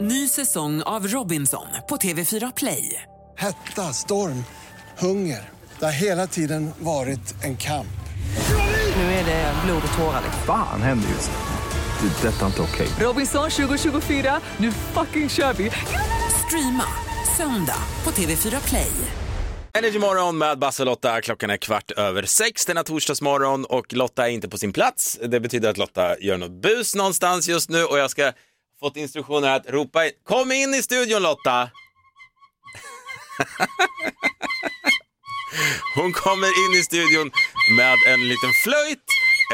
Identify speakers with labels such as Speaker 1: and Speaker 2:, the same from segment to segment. Speaker 1: Ny säsong av Robinson på TV4 Play.
Speaker 2: Hetta, storm, hunger. Det har hela tiden varit en kamp.
Speaker 1: Nu är det blod och tårar. liksom.
Speaker 3: Fan händer just nu. Det. är Detta är inte okej.
Speaker 1: Robinson 2024, nu fucking kör vi! Streama söndag på TV4 Play.
Speaker 4: Energy morgon med Basse och Lotta. Klockan är kvart över sex denna torsdagsmorgon och Lotta är inte på sin plats. Det betyder att Lotta gör något bus någonstans just nu och jag ska fått instruktioner att ropa in. Kom in i studion Lotta! Hon kommer in i studion med en liten flöjt,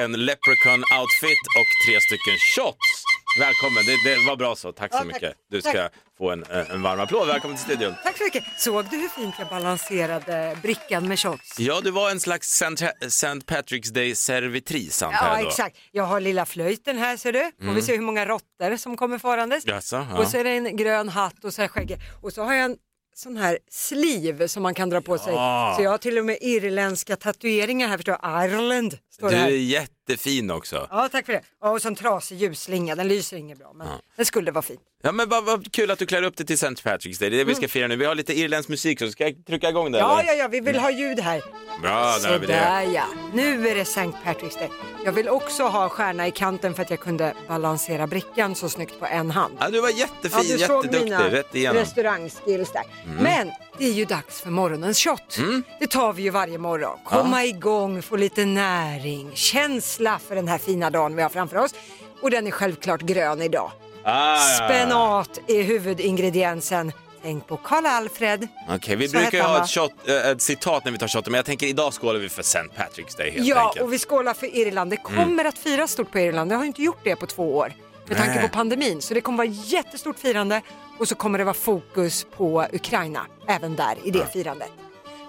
Speaker 4: en leprechaun outfit och tre stycken shots. Välkommen, det, det var bra så. Tack så
Speaker 5: Ja, tack.
Speaker 4: mycket. Du ska
Speaker 5: Tack.
Speaker 4: få en, eh, en varm applåd. Välkommen till studion.
Speaker 5: Tack så mycket. Såg du hur fint jag balanserade brickan med shots?
Speaker 4: Ja, du var en slags St. St. Patrick's Day-servitris antar
Speaker 5: Ja,
Speaker 4: jag då.
Speaker 5: exakt. Jag har lilla flöjten här ser du. Och vi ser hur många råttor som kommer farandes.
Speaker 4: Jaså, Mm. ja.
Speaker 5: Och så är det en grön hatt och så här skägg. Och så har jag en sån här sliv som man kan dra på sig. Så jag har till och med irländska tatueringar här förstår jag. Ireland står det
Speaker 4: Du är
Speaker 5: här.
Speaker 4: jättefin också.
Speaker 5: Ja, tack för det. Ja, och så en trasig ljusslinga. Den lyser inget bra, men den skulle vara fin.
Speaker 4: Ja, men vad, vad kul att du klär upp dig till St. Patrick's Day. Det är det vi ska fira nu. Vi har lite irländsk musik så ska jag trycka igång det?
Speaker 5: Mm. Ja,
Speaker 4: eller?
Speaker 5: ja, ja, vi vill ha ljud här.
Speaker 4: Bra, där har vi det.
Speaker 5: Sådär ja, nu är det St. Patrick's Day. Jag vill också ha stjärna i kanten för att jag kunde balansera brickan så snyggt på en hand.
Speaker 4: Ja, du var jättefin, jätteduktig, rätt igenom. Mm.
Speaker 5: restaurangskills där. Men det är ju dags för morgonens shot. Det tar vi ju varje morgon. Komma igång, få lite näring, känsla för den här fina dagen vi har framför oss. Och den är självklart grön idag.
Speaker 4: Ah, ja.
Speaker 5: Spenat är huvudingrediensen. Tänk på Karl-Alfred.
Speaker 4: Okej, vi
Speaker 5: Så
Speaker 4: brukar
Speaker 5: hette
Speaker 4: ju
Speaker 5: han,
Speaker 4: ha
Speaker 5: va?
Speaker 4: ett, shot, eh, ett citat när vi tar shoten, men jag tänker idag skålar vi för St. Patrick's Day helt
Speaker 5: ja,
Speaker 4: enkelt. Mm.
Speaker 5: och vi skålar för Irland. Det kommer att firas stort på Irland. Det har ju inte gjort det på två år med tanke
Speaker 4: Nej.
Speaker 5: på pandemin. Så det kommer vara jättestort firande och så kommer det vara fokus på Ukraina även där i det firandet.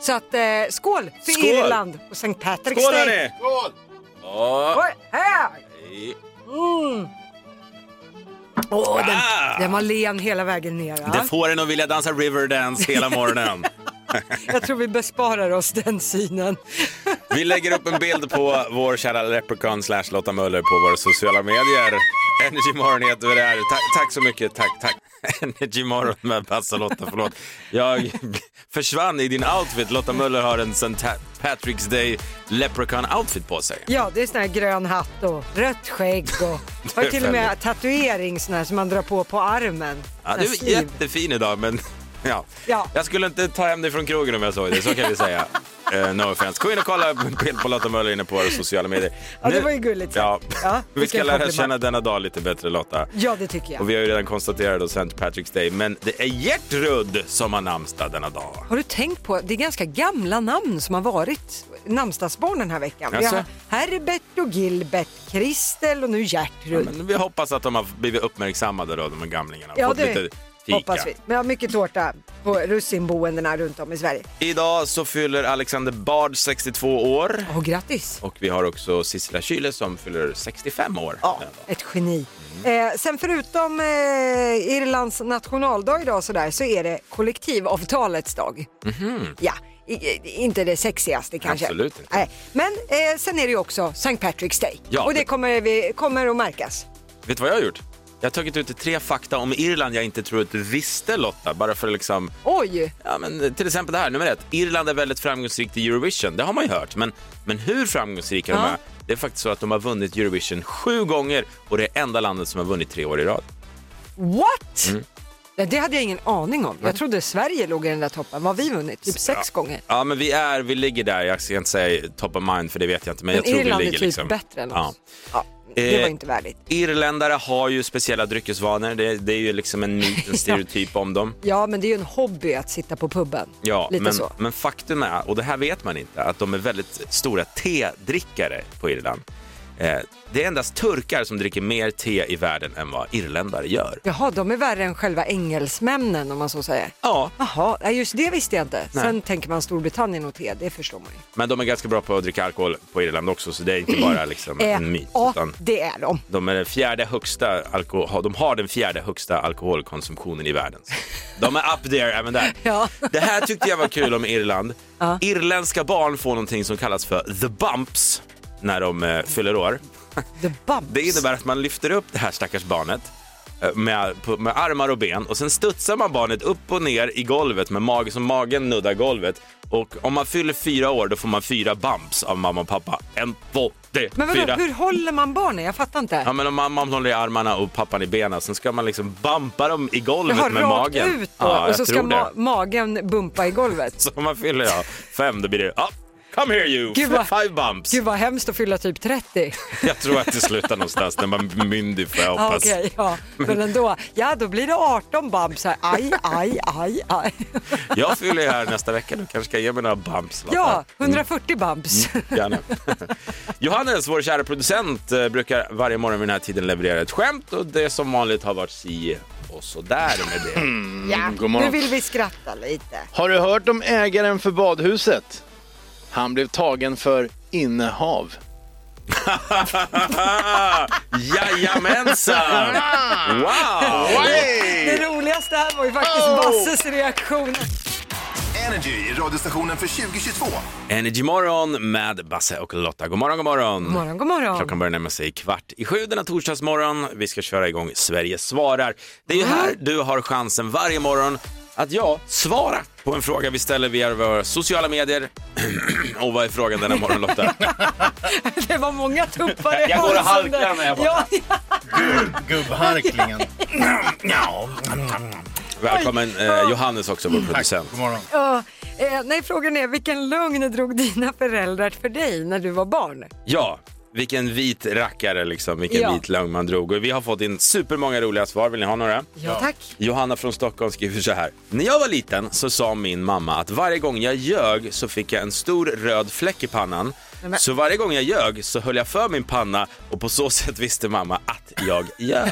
Speaker 5: Så att eh, skål för
Speaker 4: Skål!
Speaker 5: Irland och St. Patrick's
Speaker 4: Skål
Speaker 5: Day.
Speaker 4: hörni! Åh,
Speaker 5: Oj, här! Åh, den,
Speaker 4: Mm. Ah!
Speaker 5: den var len hela vägen ner.
Speaker 4: Det
Speaker 5: Ja.
Speaker 4: får en att vilja dansa Riverdance hela morgonen.
Speaker 5: Jag tror vi besparar oss den synen.
Speaker 4: Vi lägger upp en bild på vår kära leprechaun slash Lotta Möller på våra sociala medier. Energy Morgon heter vi där. Ta- tack så mycket, tack, tack. Energy Morgon med Basse och Lotta, förlåt. Jag försvann i din outfit. Lotta Möller har en St. Patrick's Day leprechaun outfit på sig.
Speaker 5: Ja, det är sån här grön hatt och rött skägg och har ju till och med tatuering sån här som man drar på på armen.
Speaker 4: Ja,
Speaker 5: Sån
Speaker 4: du
Speaker 5: här
Speaker 4: är
Speaker 5: sleeve.
Speaker 4: jättefin idag, men ja.
Speaker 5: Ja.
Speaker 4: Jag skulle inte ta hem dig från krogen om jag såg dig, så kan vi säga. Eh, no offense. Gå in och kolla en bild på Lotta Möller inne på våra sociala medier.
Speaker 5: Ja, det
Speaker 4: Nu-
Speaker 5: var ju gulligt sagt.
Speaker 4: Ja.
Speaker 5: Ja,
Speaker 4: vi ska
Speaker 5: vilken
Speaker 4: lära
Speaker 5: komplimang.
Speaker 4: känna denna dag lite bättre, Lotta.
Speaker 5: Ja, det tycker
Speaker 4: Och
Speaker 5: jag.
Speaker 4: vi har ju redan konstaterat då St. Patrick's Day, men det är Gertrud som har namnsdag denna dag.
Speaker 5: Har du tänkt på, det är ganska gamla namn som har varit namnsdagsbarn den här veckan. Vi har
Speaker 4: Jaså?
Speaker 5: Herbert och Gilbert, Kristel och nu Gertrud.
Speaker 4: Men vi hoppas att de har blivit uppmärksammade då, de här gamlingarna. och
Speaker 5: Ja,
Speaker 4: fått
Speaker 5: det
Speaker 4: lite fika.
Speaker 5: hoppas vi. Men jag har mycket tårta på russinboendena runt om i Sverige.
Speaker 4: Idag så fyller Alexander Bard 62 år.
Speaker 5: Och grattis!
Speaker 4: Och vi har också Sissela Kyle som fyller 65 år.
Speaker 5: Ja, ett geni. Eh, sen förutom eh, Irlands nationaldag idag sådär, så är det kollektivavtalets dag. Ja, i, i, inte det sexigaste kanske.
Speaker 4: Mhm. Absolut inte.
Speaker 5: Nej. Men eh, sen är det ju också St. Patrick's Day
Speaker 4: Ja,
Speaker 5: och det
Speaker 4: det-
Speaker 5: kommer, vi, kommer att märkas.
Speaker 4: Vet du vad jag har gjort? Jag har tagit ut tre fakta om Irland jag inte tror att du visste Lotta, bara för att liksom
Speaker 5: Oj!
Speaker 4: Ja, men till exempel det här, nummer ett. Irland är väldigt framgångsrikt i Eurovision, det har man ju hört. Men, men hur framgångsrika de
Speaker 5: Ja.
Speaker 4: är, det är faktiskt så att de har vunnit Eurovision sju gånger och det är enda landet som har vunnit tre år i rad.
Speaker 5: What?
Speaker 4: Mm.
Speaker 5: Ja, det hade jag ingen aning om. Jag trodde Sverige låg i den där toppen. Vad har vi vunnit? Typ sex gånger.
Speaker 4: Ja, men vi är, vi ligger där. Jag ska inte säga top of mind för det vet jag inte, men,
Speaker 5: Men
Speaker 4: jag tror
Speaker 5: Irland
Speaker 4: vi
Speaker 5: är
Speaker 4: ligger
Speaker 5: typ
Speaker 4: liksom.
Speaker 5: bättre än
Speaker 4: Ja.
Speaker 5: oss. Ja, det var
Speaker 4: Eh,
Speaker 5: inte värdigt.
Speaker 4: Irländare har ju speciella dryckesvanor. Det, det är ju liksom en myt, en stereotyp om dem.
Speaker 5: Ja, men det är ju en hobby att sitta på puben.
Speaker 4: Ja,
Speaker 5: Lite
Speaker 4: men,
Speaker 5: så.
Speaker 4: men faktum är, och det här vet man inte, att de är väldigt stora tedrickare på Irland. Eh, det är endast turkar som dricker mer te i världen än vad irländare gör.
Speaker 5: Jaha, de är värre än själva engelsmännen om man så säger.
Speaker 4: Ja,
Speaker 5: Jaha, nej, just det visste jag inte. Sen tänker man Storbritannien och te, det förstår man ju.
Speaker 4: men de är ganska bra på att dricka alkohol på Irland också, så det är inte bara liksom en myt.
Speaker 5: ja,
Speaker 4: Utan
Speaker 5: det är de.
Speaker 4: de, är den fjärde högsta alko- ha- de har den fjärde högsta alkoholkonsumtionen i världen. De är up there även där.
Speaker 5: Ja.
Speaker 4: Det här tyckte jag var kul om Irland. Irländska barn får någonting som kallas för the bumps när de eh, fyller år.
Speaker 5: The Bumps.
Speaker 4: Det innebär att man lyfter upp det här stackars barnet eh, med, på- med armar och ben och sen studsar man barnet upp och ner i golvet med magen, så magen nuddar golvet. Och om man fyller fyra år då får man fyra bumps av mamma och pappa. En, två, tre,
Speaker 5: Men vadå,
Speaker 4: fyra.
Speaker 5: hur håller man barnen? Jag fattar inte.
Speaker 4: Ja men om mamman håller i armarna och pappan i benen, sen ska man liksom bampa dem i golvet
Speaker 5: Jaha,
Speaker 4: med
Speaker 5: rakt
Speaker 4: magen.
Speaker 5: ut då
Speaker 4: ja,
Speaker 5: och
Speaker 4: jag
Speaker 5: så ska
Speaker 4: tror
Speaker 5: ma-
Speaker 4: det.
Speaker 5: magen bumpa i golvet.
Speaker 4: Så om man fyller ja, fem då blir det ja, come here you,
Speaker 5: Gud, vad-
Speaker 4: five bumps.
Speaker 5: Gud vad hemskt att fylla typ 30.
Speaker 4: Jag tror att det slutar någonstans när man blir myndig får jag
Speaker 5: Ja,
Speaker 4: hoppas.
Speaker 5: okej, ja. Men ändå, ja då blir det 18 bumps här. Aj, aj, aj, aj.
Speaker 4: Jag fyller ju här nästa vecka nu, kanske ska jag ge mig några bumps. Lotta.
Speaker 5: Ja, 140 bumps.
Speaker 4: Gärna. Johannes, vår kära producent, eh, brukar varje morgon vid den här tiden leverera ett skämt och det som vanligt har varit si och så där med det.
Speaker 5: Ja,
Speaker 6: god
Speaker 5: nu
Speaker 6: morgon.
Speaker 5: vill vi skratta lite.
Speaker 6: Har du hört om ägaren för badhuset? Han blev tagen för innehav.
Speaker 4: Jajamensan! Wow!
Speaker 5: Det roligaste här var ju
Speaker 4: Oh!
Speaker 5: faktiskt Basses reaktion.
Speaker 7: Energy, radiostationen för 2022.
Speaker 4: Energy morgon med Basse och Lotta. God morgon, god morgon.
Speaker 5: God morgon, god morgon.
Speaker 4: Klockan börjar närma sig kvart i sju denna torsdagsmorgon. Vi ska köra igång Sverige svarar. Det är ju här du har chansen varje morgon att jag svara på en fråga vi ställer via våra sociala medier. och vad är frågan denna morgon Lotta?
Speaker 5: Det var många tuppar i
Speaker 4: Jag går och
Speaker 5: halsen där.
Speaker 4: halkar när jag bara-
Speaker 5: ja, ja.
Speaker 6: Gubbharklingen.
Speaker 4: Välkommen eh, Johannes också, vår producent.
Speaker 6: God morgon.
Speaker 5: Ja, eh, nej, frågan är vilken lögn drog dina föräldrar för dig när du var barn?
Speaker 4: Ja, vilken vit rackare liksom, vilken
Speaker 5: Ja.
Speaker 4: vit lögn man drog. Och vi har fått in supermånga roliga svar. Vill ni ha några?
Speaker 5: Ja, tack.
Speaker 4: Johanna från Stockholm skriver så här. När jag var liten så sa min mamma att varje gång jag ljög så fick jag en stor röd fläck i pannan.
Speaker 5: men-
Speaker 4: Så varje gång jag ljög så höll jag för min panna och på så sätt visste mamma att jag ljög.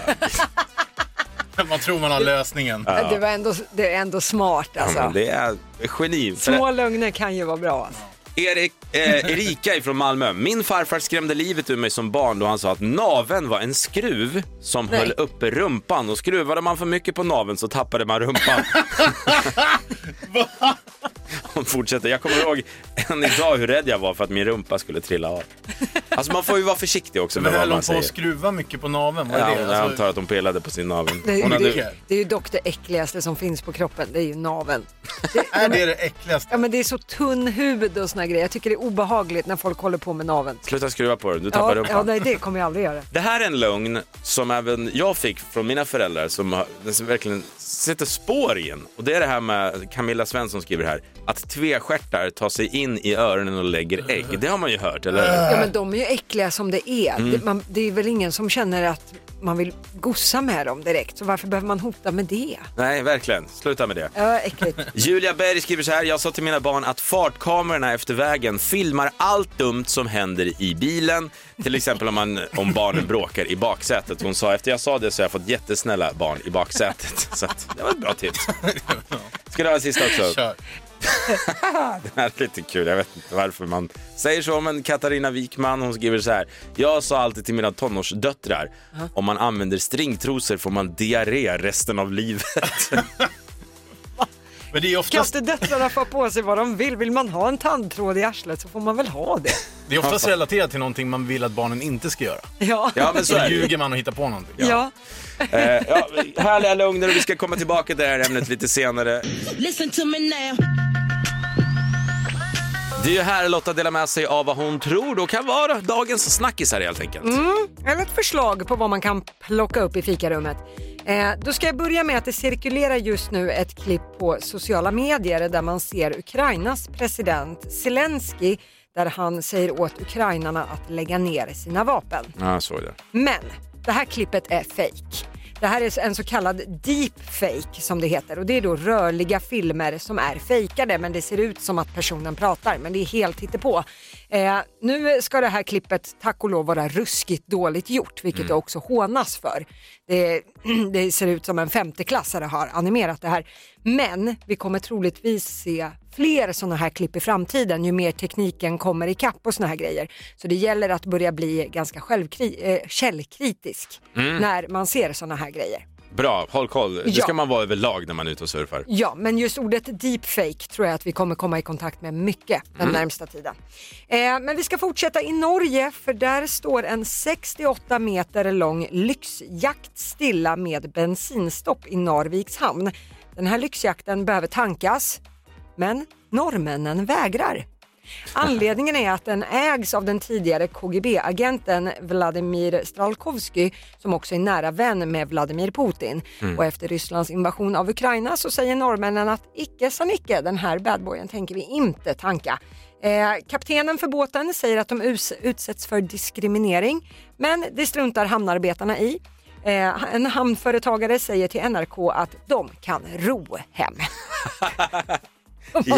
Speaker 6: Man tror man har lösningen.
Speaker 5: Det, var ändå, det är ändå smart alltså.
Speaker 4: Men Det är geni. För
Speaker 5: Små lögner kan ju vara bra. alltså.
Speaker 4: Erik, eh, Erika från Malmö. Min farfar skrämde livet ur mig som barn då han sa att naven var en skruv som
Speaker 5: Nej.
Speaker 4: höll uppe rumpan och skruvade man för mycket på naven så tappade man rumpan. Hon fortsätter. Jag kommer ihåg än idag hur rädd jag var för att min rumpa skulle trilla av. Alltså man får ju vara försiktig också med
Speaker 8: Men
Speaker 4: vad
Speaker 8: höll
Speaker 4: man
Speaker 8: hon på
Speaker 4: säger.
Speaker 8: att skruva mycket på naveln? Vad
Speaker 4: Ja,
Speaker 8: är
Speaker 4: jag
Speaker 8: det? Alltså,
Speaker 4: antar att hon pelade på sin navel.
Speaker 5: Det,
Speaker 4: Hon hade,
Speaker 5: det, det är ju dock det äckligaste som finns på kroppen, det är ju naveln.
Speaker 8: är det det äckligaste?
Speaker 5: Ja men det är så tunn hud och såna grejer. Jag tycker det är obehagligt när folk håller på med naveln.
Speaker 4: sluta skruva på den, du tappar
Speaker 5: Ja,
Speaker 4: rumpan.
Speaker 5: ja, nej det kommer jag aldrig göra.
Speaker 4: Det här är en lögn som även jag fick från mina föräldrar som, har, den som verkligen sätter spår i en. Och det är det här med Camilla Svensson skriver här, att tvestjärtar tar sig in i öronen och lägger ägg. Det har man ju hört, eller
Speaker 5: Ja men de är ju äckliga som det är. Det, man, det är väl ingen som känner att man vill gossa med dem direkt. Så varför behöver man hota med det?
Speaker 4: Nej, verkligen. Sluta med det.
Speaker 5: Ja, äckligt.
Speaker 4: Julia Berg skriver så här, jag sa till mina barn att fartkamerorna efter vägen filmar allt dumt som händer i bilen. Till exempel om, man, om barnen bråkar i baksätet. Hon sa, efter jag sa det så har jag fått jättesnälla barn i baksätet. Så att, det var ett bra tips. Ska du ha en sista också?
Speaker 6: Kör.
Speaker 4: Det här är lite kul, jag vet inte varför man säger så, men Katarina Wikman hon skriver så här. Jag sa alltid till mina tonårsdöttrar, om man använder stringtrosor får man diarré resten av livet.
Speaker 8: Men det är oftast,
Speaker 5: Kattedöttrarna får på sig vad de vill. Vill man ha en tandtråd i arslet så får man väl ha det.
Speaker 8: det är oftast relaterat till någonting man vill att barnen inte ska göra.
Speaker 5: Ja.
Speaker 4: ja, men så
Speaker 8: Så
Speaker 4: är det. ju.
Speaker 8: ljuger man och hittar på någonting.
Speaker 5: ja.
Speaker 4: Eh, ja, härliga lögner och vi ska komma tillbaka till det här ämnet lite senare.
Speaker 9: Listen to me now.
Speaker 4: Det är ju här Lotta delar med sig av vad hon tror då kan vara dagens snackisar helt enkelt.
Speaker 5: eller ett förslag på vad man kan plocka upp i fikarummet. Eh, då ska jag börja med att det cirkulerar just nu ett klipp på sociala medier där man ser Ukrainas president Zelensky där han säger åt ukrainarna att lägga ner sina vapen.
Speaker 4: Ja, så är det.
Speaker 5: Men det här klippet är fake. Det här är en så kallad deepfake som det heter och det är då rörliga filmer som är fejkade men det ser ut som att personen pratar men det är helt hittepå. Eh, nu ska det här klippet tack och lov vara ruskigt dåligt gjort vilket jag också hånas för. Det, det ser ut som en femteklassare har animerat det här. Men vi kommer troligtvis se fler sådana här klipp i framtiden ju mer tekniken kommer ikapp och sådana här grejer. Så det gäller att börja bli ganska självkri- eh, källkritisk när man ser sådana här grejer.
Speaker 4: Bra, håll koll. Det
Speaker 5: Ja.
Speaker 4: ska man vara överlag när man är ute och surfar.
Speaker 5: Ja, men just ordet deepfake tror jag att vi kommer komma i kontakt med mycket den närmsta tiden. Eh, men vi ska fortsätta i Norge för där står en 68 meter lång lyxjakt stilla med bensinstopp i Narviks hamn. Den här lyxjakten behöver tankas, men norrmännen vägrar. Anledningen är att den ägs av den tidigare KGB-agenten Vladimir Stralkovsky som också är nära vän med Vladimir Putin. Och efter Rysslands invasion av Ukraina så säger norrmännen att icke sa Nicke, den här badboyen tänker vi inte tanka. Eh, kaptenen för båten säger att de us- utsätts för diskriminering men det struntar hamnarbetarna i. Eh, en hamnföretagare säger till NRK att de kan ro hem. De har,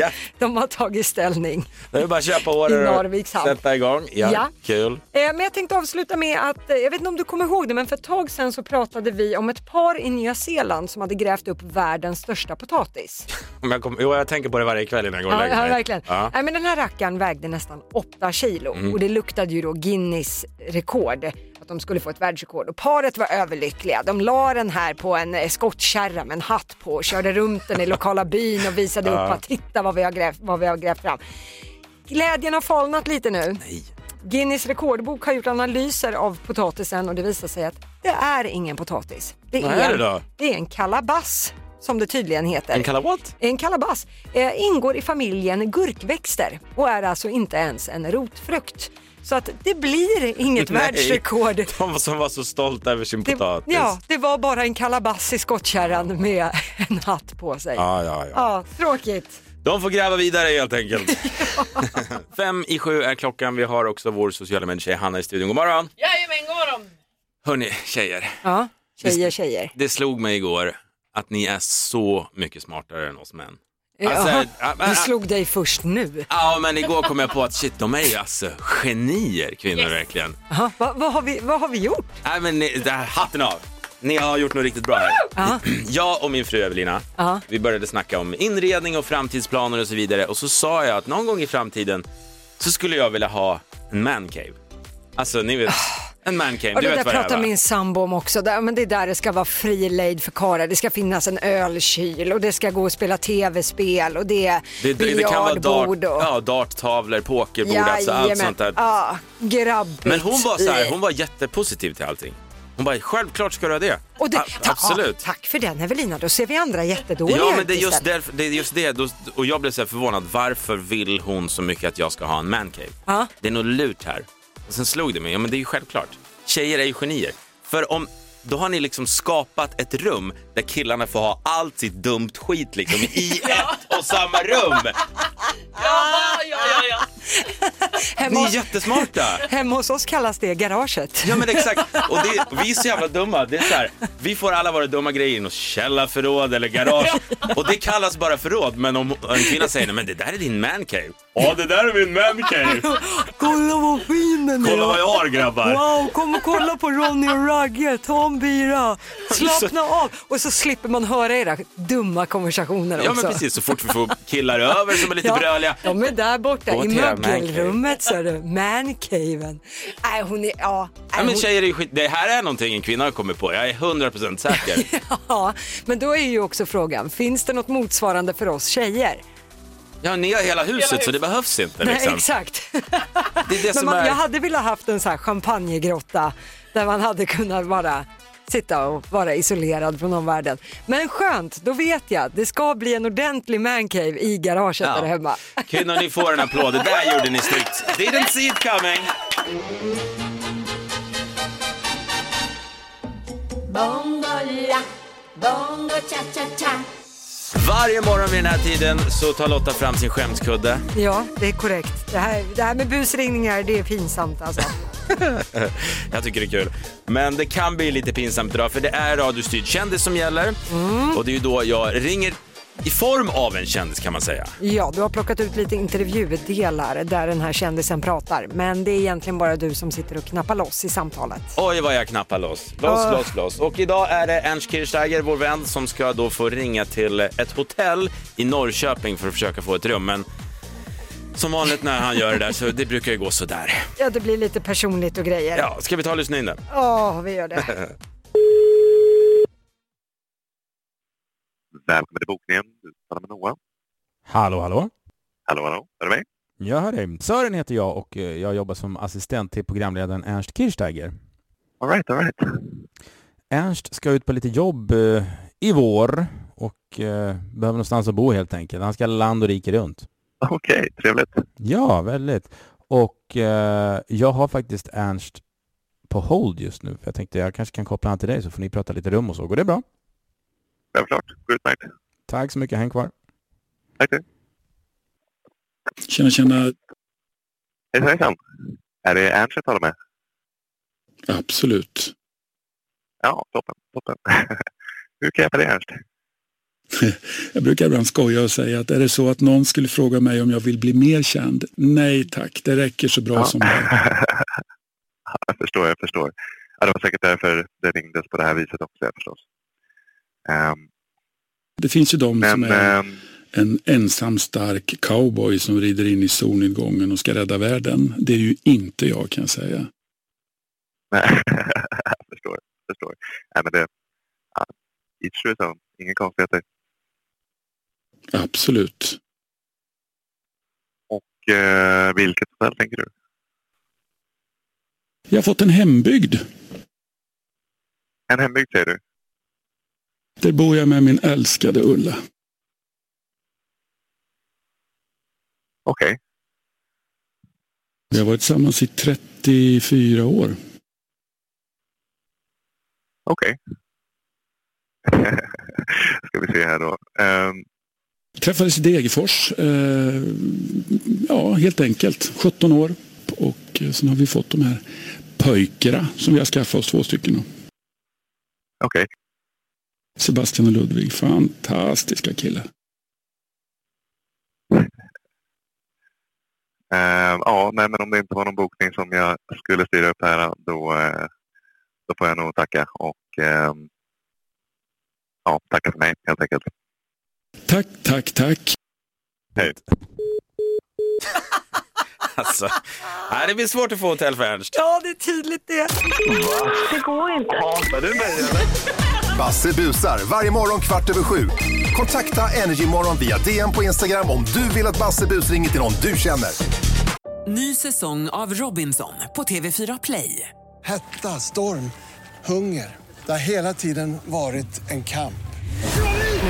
Speaker 4: Ja.
Speaker 5: de har tagit ställning. Eh,
Speaker 4: Nu är det bara att köpa
Speaker 5: I
Speaker 4: året
Speaker 5: Narviks
Speaker 4: och
Speaker 5: hamn.
Speaker 4: sätta igång. Ja,
Speaker 5: Ja.
Speaker 4: Kul.
Speaker 5: Eh, Men jag tänkte avsluta med att, eh, jag vet inte om du kommer ihåg det, men för ett tag sedan så pratade vi om ett par i Nya Zeeland som hade grävt upp världens största potatis.
Speaker 4: Om jag, kommer- jo, jag tänker på det varje kväll innan jag går och
Speaker 5: Ja,
Speaker 4: lägger
Speaker 5: ja
Speaker 4: mig.
Speaker 5: verkligen.
Speaker 4: Ja. Mm.
Speaker 5: Nej, men den här rackaren vägde nästan 8 kilo och det luktade ju då Guinness rekord att de skulle få ett världsrekord och paret var överlyckliga. De la den här på en eh, skottkärra med en hatt på och körde runt den i lokala byn och visade upp att titta vad vi har grävt, vad vi har grävt fram. Glädjen har falnat lite nu. Guinness rekordbok har gjort analyser av potatisen och det visar sig att det är ingen potatis. Det
Speaker 4: Vad är det då?
Speaker 5: det är en kalabass som det tydligen heter.
Speaker 4: En kalla what?
Speaker 5: En kalabass eh, ingår i familjen gurkväxter och är alltså inte ens en rotfrukt. Så att det blir inget
Speaker 4: Nej.
Speaker 5: världsrekord.
Speaker 4: De som var så stolta över sin
Speaker 5: Det,
Speaker 4: potatis.
Speaker 5: ja, det var bara en kalabass i skottkärran med en hatt på sig. Ja,
Speaker 4: Ja, ja, ja.
Speaker 5: tråkigt.
Speaker 4: De får gräva vidare helt enkelt. Fem i sju är klockan. Vi har också vår sociala medietjej Hanna i studion. God morgon!
Speaker 9: Jajamän, god morgon!
Speaker 4: Hörni, tjejer.
Speaker 5: Ja, tjejer, tjejer.
Speaker 4: Det slog mig igår att ni är så mycket smartare än oss män.
Speaker 5: Ja,
Speaker 4: Alltså,
Speaker 5: aha,
Speaker 4: ja, men-
Speaker 5: du slog dig först nu.
Speaker 4: Ja, men igår kom jag på att shit, de är ju alltså genier, kvinnor
Speaker 9: Yes.
Speaker 4: verkligen.
Speaker 5: Aha, vad, vad, har vi, vad har vi gjort?
Speaker 4: Nej, men ni, det här, hatten av! Ni har gjort något riktigt bra här.
Speaker 5: Ja.
Speaker 4: Jag och min fru Evelina,
Speaker 5: Ja.
Speaker 4: vi började snacka om inredning och framtidsplaner och så vidare och så sa jag att någon gång i framtiden så skulle jag vilja ha en mancave. Alltså, ni vet, en mancave.
Speaker 5: Ah. Och
Speaker 4: Du
Speaker 5: det där
Speaker 4: vet vad det är,
Speaker 5: pratar
Speaker 4: va?
Speaker 5: min sambo om också. Det, men det är där det ska vara fri lejd för karlar. Det ska finnas en ölkyl och det ska gå och spela tv-spel och det är
Speaker 4: Det, det, det kan vara dart,
Speaker 5: biljardbord. och...
Speaker 4: ja, darttavlor, pokerbord, alltså allt
Speaker 5: Jajamän.
Speaker 4: sånt där.
Speaker 5: Ja, grabbigt.
Speaker 4: Men hon var så här, hon var jättepositiv till allting. Hon bara, självklart ska du ha det.
Speaker 5: Och det,
Speaker 4: A-
Speaker 5: ta-
Speaker 4: absolut.
Speaker 5: Ja, tack för den Evelina, då ser vi andra jättedåliga
Speaker 4: Ja, men
Speaker 5: ut
Speaker 4: det är just,
Speaker 5: istället.
Speaker 4: därför, det, är just det. Då- Och jag blev så här förvånad. Varför vill hon så mycket att jag ska ha en mancave?
Speaker 5: Ja.
Speaker 4: Det är något lurt här. Och sen slog det mig. Ja, men det är ju självklart. Tjejer är ju genier. För om, då har ni liksom skapat ett rum där killarna får ha allt sitt dumt skit liksom i ett och samma rum.
Speaker 9: Ja, ja, ja, ja.
Speaker 5: Hemma,
Speaker 4: Ni är
Speaker 5: hos-
Speaker 4: jättesmarta.
Speaker 5: hemma hos oss kallas det garaget.
Speaker 4: Ja men exakt, och det, vi är så jävla dumma. Det är så här, vi får alla våra dumma grejer i något källarförråd eller garage. Och det kallas bara förråd, men om en kvinna säger nej men det där är din mancave. Ja det där är min mancave.
Speaker 5: Kolla vad fin den
Speaker 4: Kolla vad jag har grabbar.
Speaker 5: Wow, kom och kolla på Ronny och Ragge, ta en bira, slappna av och så slipper man höra era dumma konversationer
Speaker 4: Ja
Speaker 5: också.
Speaker 4: men precis, så fort vi får killar över som är lite
Speaker 5: Ja,
Speaker 4: bröliga.
Speaker 5: De är där
Speaker 4: Gå
Speaker 5: borta i
Speaker 4: till era mancave.
Speaker 5: mögelrummet ser du, mancaven. Nej hon är, ja. nej,
Speaker 4: Ja, men
Speaker 5: hon-
Speaker 4: tjejer är ju skit, det här är någonting en kvinna har kommit på, jag är 100% säker.
Speaker 5: Ja, men då är ju också frågan, finns det något motsvarande för oss tjejer?
Speaker 4: Ja ni har hela huset så det behövs inte
Speaker 5: Nej,
Speaker 4: liksom.
Speaker 5: exakt.
Speaker 4: Det är det
Speaker 5: Men
Speaker 4: som
Speaker 5: man, jag
Speaker 4: är...
Speaker 5: hade velat haft en sån här champagnegrotta där man hade kunnat bara sitta och vara isolerad från omvärlden. Men skönt, då vet jag. Det ska bli en ordentlig mancave i garaget där hemma.
Speaker 4: Kvinnor ni får en applåd, det där gjorde ni snyggt. Didn't see it coming.
Speaker 9: Bondola, bondo cha-cha-cha.
Speaker 4: Varje morgon vid den här tiden så tar Lotta fram sin skämskudde.
Speaker 5: Ja, det är korrekt. Det här, det här med busringningar, det är pinsamt alltså.
Speaker 4: Jag tycker det är kul. Men det kan bli lite pinsamt idag för det är radiostyrd kändis som gäller. Och det är ju då jag ringer i form av en kändis kan man säga.
Speaker 5: Ja, du har plockat ut lite intervjudelar där den här kändisen pratar. Men det är egentligen bara du som sitter och knappar loss i samtalet.
Speaker 4: Oj vad jag knappar loss. Loss,
Speaker 5: Ah.
Speaker 4: loss, loss. Och idag är det Ernst Kirchsteiger, vår vän, som ska då få ringa till ett hotell i Norrköping för att försöka få ett rum. Men som vanligt när han gör det där så det brukar ju gå sådär.
Speaker 5: Ja, det blir lite personligt och grejer.
Speaker 4: Ja, ska vi ta och lyssna in det?
Speaker 5: Åh, vi gör det.
Speaker 10: Välkommen till bokningen. Du talar med Noah.
Speaker 11: Hallå, hallå.
Speaker 10: Hallå, hallå. Är du med?
Speaker 11: Jag hör dig. Sören heter jag och eh, jag jobbar som assistent till programledaren Ernst Kirchsteiger.
Speaker 10: All right, all right.
Speaker 11: Ernst ska ut på lite jobb eh, i vår och eh, behöver någonstans att bo helt enkelt. Han ska land och rike runt.
Speaker 10: Okej, trevligt.
Speaker 11: Ja, väldigt. Och eh, jag har faktiskt Ernst på hold just nu. För jag tänkte jag kanske kan koppla an till dig så får ni prata lite rum och så. Går det bra?
Speaker 10: Självklart. Går utmärkt.
Speaker 11: Tack så mycket. Häng kvar.
Speaker 10: Tack du.
Speaker 12: Tjena, tjena.
Speaker 10: Hejsan, hejsan. Är det Ernst jag talar med?
Speaker 12: Absolut.
Speaker 10: Ja, toppen, toppen. Hur kan jag hjälpa dig Ernst?
Speaker 12: Jag brukar ibland skoja och säga att är det så att någon skulle fråga mig om jag vill bli mer känd? Nej tack, det räcker så bra som det är.
Speaker 10: Jag förstår, jag förstår. Ja, det var säkert därför det ringdes på det här viset också, ja, förstås. Ehm,
Speaker 12: Det finns ju de som
Speaker 10: Men,
Speaker 12: är
Speaker 10: ehm,
Speaker 12: en ensam stark cowboy som rider in i solnedgången och ska rädda världen. Det är ju inte jag kan jag säga.
Speaker 10: nej. jag förstår, jag förstår. Nej, men det... Ja, each to his own. Inga konstigheter.
Speaker 12: Absolut.
Speaker 10: Och eh, vilket hotell tänker du?
Speaker 12: Jag har fått en hembygd.
Speaker 10: En hembygd säger du?
Speaker 12: Där bor jag med min älskade Ulla.
Speaker 10: Okej.
Speaker 12: Vi har varit tillsammans i 34 år.
Speaker 10: Okej. ska vi se här då. Ehm,
Speaker 12: Träffades i Degerfors, eh, ja helt enkelt, 17 år. Och eh, sen har vi fått de här pöjkerna som vi har skaffat oss, två stycken. då.
Speaker 10: Okej.
Speaker 12: Sebastian och Ludvig, fantastiska killar.
Speaker 10: ehm, ja, nej, men om det inte var någon bokning som jag skulle styra upp här då, eh, då får jag nog tacka och ehm, ja, tacka för mig helt enkelt.
Speaker 12: Tack, tack, tack.
Speaker 10: Hej.
Speaker 4: Alltså, nej, det blir svårt att få hotell för Ernst.
Speaker 5: Ja, det är tydligt det. Det går inte.
Speaker 13: Basse busar varje morgon kvart över sju. Kontakta Energymorgon via DM på Instagram om du vill att Basse bus ringer till någon du känner.
Speaker 1: Ny säsong av Robinson på TV4 Play.
Speaker 2: Hetta, storm, hunger. Det har hela tiden varit en kamp.
Speaker 1: Nu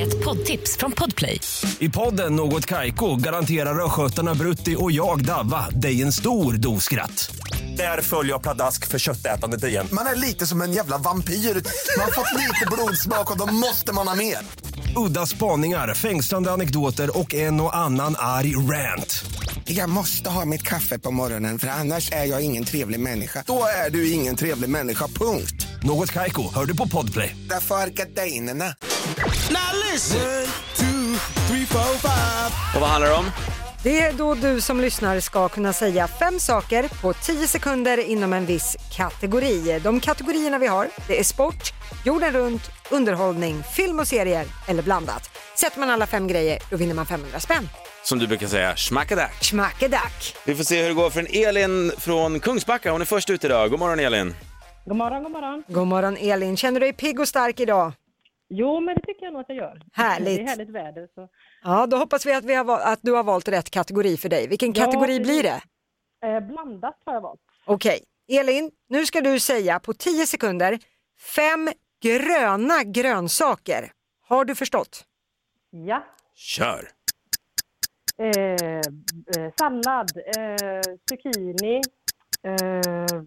Speaker 14: Ett poddtips från Podplay.
Speaker 15: I podden Något Kaiko garanterar östgötarna Brutti och jag, Davva, dig en stor dos skratt. Där följer jag pladask för köttätandet igen.
Speaker 16: Man är lite som en jävla vampyr. Man har fått lite blodsmak och då måste man ha mer.
Speaker 15: Udda spaningar, fängslande anekdoter och en och annan arg rant.
Speaker 16: Jag måste ha mitt kaffe på morgonen för annars är jag ingen trevlig människa. Då är du ingen trevlig människa, punkt.
Speaker 15: Något Kaiko, hör du på Podplay.
Speaker 16: Därför är gardinerna.
Speaker 4: Och vad handlar det om?
Speaker 5: Det är då du som lyssnar ska kunna säga fem saker på 10 sekunder inom en viss kategori. De kategorierna vi har, det är sport, jorden runt, underhållning, film och serier eller blandat. Sätter man alla fem grejer, då vinner man 500 spänn.
Speaker 4: Som du brukar säga, schmackadack.
Speaker 5: Schmackedack!
Speaker 4: Vi får se hur det går för en Elin från Kungsbacka. Hon är först ut idag. God morgon Elin.
Speaker 5: God morgon, god morgon. God morgon Elin. Känner du dig pigg och stark idag?
Speaker 17: Jo, men det tycker jag nog att jag gör. Eh,
Speaker 5: Härligt.
Speaker 17: Det är härligt väder. Så.
Speaker 5: Ja, då hoppas vi att, vi har, val- att du har valt rätt kategori för dig. Vilken
Speaker 17: Ja,
Speaker 5: kategori
Speaker 17: precis.
Speaker 5: blir det?
Speaker 17: Eh, blandat har jag valt.
Speaker 5: Okej, Elin, nu ska du säga på 10 sekunder fem gröna grönsaker. Har du förstått?
Speaker 17: Ja.
Speaker 4: Kör.
Speaker 17: Eh, eh, sallad, eh, zucchini, eh,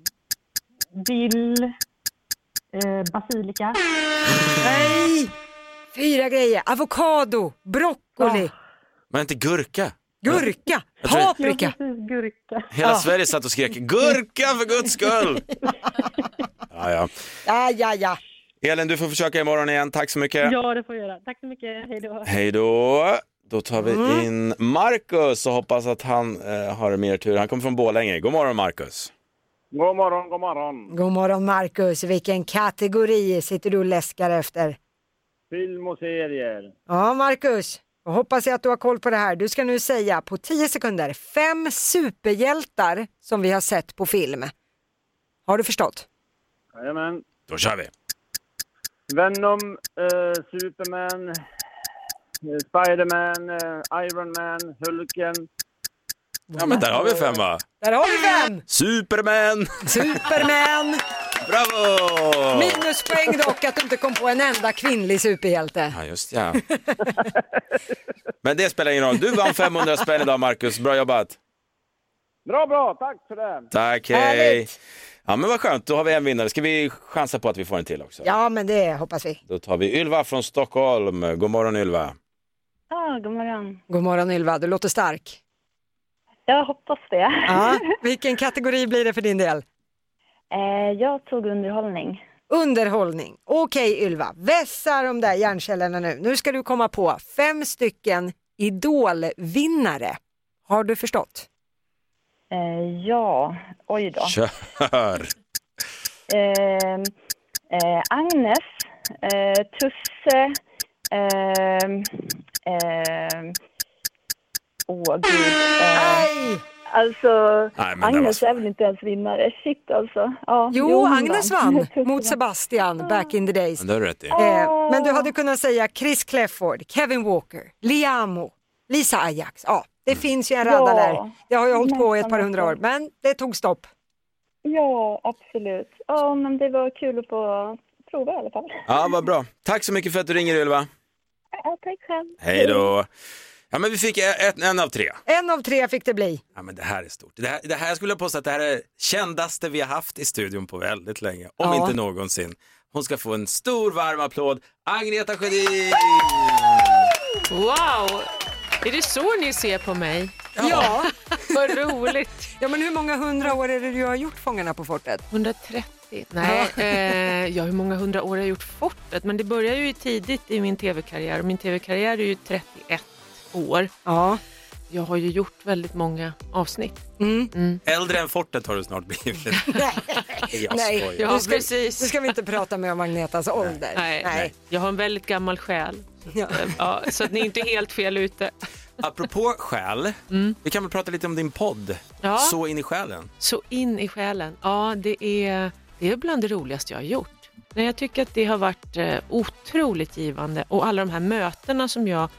Speaker 17: dill, eh, basilika.
Speaker 5: Nej! Fyra grejer. Avokado, broccoli,
Speaker 4: Men inte gurka.
Speaker 5: gurka,
Speaker 4: Jag tror-
Speaker 5: paprika.
Speaker 17: Jo, precis, gurka.
Speaker 4: Hela
Speaker 5: Ja.
Speaker 4: Sverige satt och skrek gurka för guds skull. ja, ja.
Speaker 5: Ja, ja, ja.
Speaker 4: Elin, du får försöka imorgon igen. Tack så mycket.
Speaker 17: Ja, det får jag göra. Tack så mycket. Hej då.
Speaker 4: Hej då. Då tar vi
Speaker 17: Mm.
Speaker 4: in Marcus och hoppas att han eh, har mer tur. Han kommer från Borlänge. God morgon Marcus.
Speaker 18: God morgon, god morgon.
Speaker 5: God morgon Marcus, vilken kategori sitter du och läskar efter?
Speaker 18: Film och serier.
Speaker 5: Ja Marcus, Då hoppas jag att du har koll på det här. Du ska nu säga på 10 sekunder fem superhjältar som vi har sett på film. Har du förstått?
Speaker 19: Jajamän.
Speaker 4: Då kör vi.
Speaker 19: Venom, eh, Superman, eh, Spiderman, eh, Iron Man, Hulken.
Speaker 4: Ja, men där har vi fem va?
Speaker 5: Där har vi fem!
Speaker 4: Superman!
Speaker 5: Superman!
Speaker 4: Bravo!
Speaker 5: Minuspoäng dock att du inte kom på en enda kvinnlig superhjälte.
Speaker 4: Ja, just ja. Men det spelar ingen roll. Du vann 500 spänn idag, Marcus. Bra jobbat.
Speaker 19: Bra, bra. Tack för det.
Speaker 4: Tack, hej! Ja, men vad skönt. Då har vi en vinnare. Ska vi chansa på att vi får en till också?
Speaker 5: Ja, men det hoppas vi.
Speaker 4: Då tar vi Ylva från Stockholm. God morgon, Ylva.
Speaker 20: Ja, god morgon.
Speaker 5: God morgon Ylva, du låter stark.
Speaker 20: Jag hoppas det.
Speaker 5: Ja, vilken kategori blir det för din del?
Speaker 20: Eh, jag tog underhållning.
Speaker 5: Underhållning. Okej Ylva, vässa de där hjärnkällorna nu. Nu ska du komma på fem stycken idolvinnare. Har du förstått?
Speaker 20: Eh, ja, oj då.
Speaker 4: Kör!
Speaker 20: Eh, eh, Agnes, eh, Tusse, eh, eh, åh gud. Eh, alltså,
Speaker 4: Nej, men det var
Speaker 20: Agnes är väl inte ens vinnare? Shit alltså. Ja,
Speaker 5: Jo,
Speaker 20: hon
Speaker 5: Agnes vann mot Sebastian back in the days.
Speaker 4: Men det har du rätt i.
Speaker 5: Eh, men du hade kunnat säga Chris Clefford, Kevin Walker, Liamo, Lisa Ajax. Ja, det finns ju en radda
Speaker 20: Ja.
Speaker 5: där. Det har jag hållit på i ett par hundra år, men det tog stopp.
Speaker 20: Ja, absolut. Ja, men det var kul att få prova i alla fall.
Speaker 4: Ja, vad bra. Tack så mycket för att du ringer, Ylva.
Speaker 20: Ja, tack själv.
Speaker 4: Hej då! Ja, men vi fick e- ett, en av tre.
Speaker 5: En av tre fick det bli.
Speaker 4: Ja, men det här är stort. Det här, det här skulle jag påstå att det här är kändaste vi har haft i studion på väldigt länge, om
Speaker 5: Ja.
Speaker 4: inte någonsin. Hon ska få en stor varm applåd. Agneta Sjödin!
Speaker 12: Wow! Är det så ni ser på mig?
Speaker 5: Ja.
Speaker 12: Vad roligt.
Speaker 5: Ja, men hur många hundra år är det du har gjort Fångarna på fortet?
Speaker 12: 130. Nej, eh, ja, hur många hundra år har jag gjort fortet? Men det börjar ju tidigt i min tv-karriär och min tv-karriär är ju 31 år.
Speaker 5: Ja.
Speaker 12: Jag har ju gjort väldigt många avsnitt.
Speaker 4: Äldre än fortet har du snart blivit. jag
Speaker 5: Nej,
Speaker 4: skojar.
Speaker 5: nu ska, precis. Nu ska vi inte prata mer om Agnetas ålder.
Speaker 12: Nej, nej. Jag har en väldigt gammal själ. Så, att, eh, ja, så att ni är inte helt fel ute.
Speaker 4: Apropå själ,
Speaker 5: Mm.
Speaker 4: vi kan väl prata lite om din podd,
Speaker 12: Ja.
Speaker 4: Så in i själen.
Speaker 12: Så in i själen. Ja, det är, det är bland det roligaste jag har gjort. Nej, jag tycker att det har varit eh, otroligt givande och alla de här mötena som jag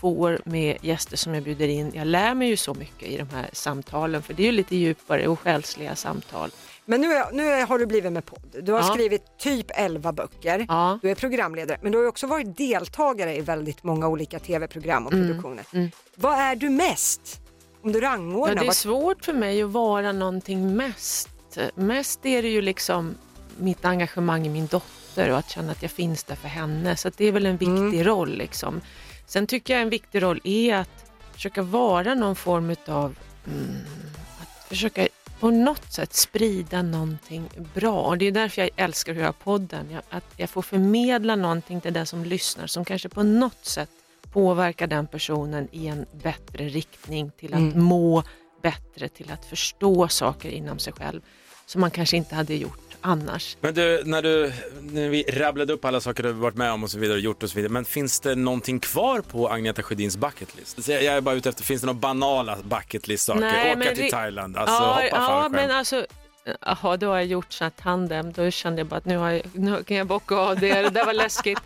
Speaker 12: får med gäster som jag bjuder in. Jag lär mig ju så mycket i de här samtalen för det är ju lite djupare och själsliga samtal.
Speaker 5: Men nu, är, nu är, har du blivit med podd. Du har
Speaker 12: Ja.
Speaker 5: skrivit typ 11 böcker. Du är programledare, men du har ju också varit deltagare i väldigt många olika tv-program och
Speaker 12: Mm,
Speaker 5: produktioner. Vad är du mest? Om du rangordnar?
Speaker 12: Ja, det är
Speaker 5: vad-
Speaker 12: svårt för mig att vara någonting mest. Mest är det ju liksom mitt engagemang i min dotter och att känna att jag finns där för henne. Så att det är väl en viktig roll. Liksom. Sen tycker jag en viktig roll är att försöka vara någon form av mm, att försöka på något sätt sprida någonting bra. Och det är därför jag älskar att göra podden. Jag, att jag får förmedla någonting till den som lyssnar som kanske på något sätt påverkar den personen i en bättre riktning till att
Speaker 21: Mm.
Speaker 12: må bättre, till att förstå saker inom sig själv som man kanske inte hade gjort annars.
Speaker 4: Men du, när du, när vi rabblade upp alla saker du varit med om och så vidare, gjort och så vidare, men finns det någonting kvar på Agneta Sjödins bucketlist? Så Jag jag är bara ute efter, finns det några banala bucketlist-saker? Åka till
Speaker 12: ri-
Speaker 4: Thailand, alltså
Speaker 12: ja,
Speaker 4: hoppa
Speaker 12: ja,
Speaker 4: fallskärm.
Speaker 12: men alltså, aha, då har jag gjort sån här tandem, då kände jag bara att nu, har jag, nu kan jag bocka av det, det där var läskigt.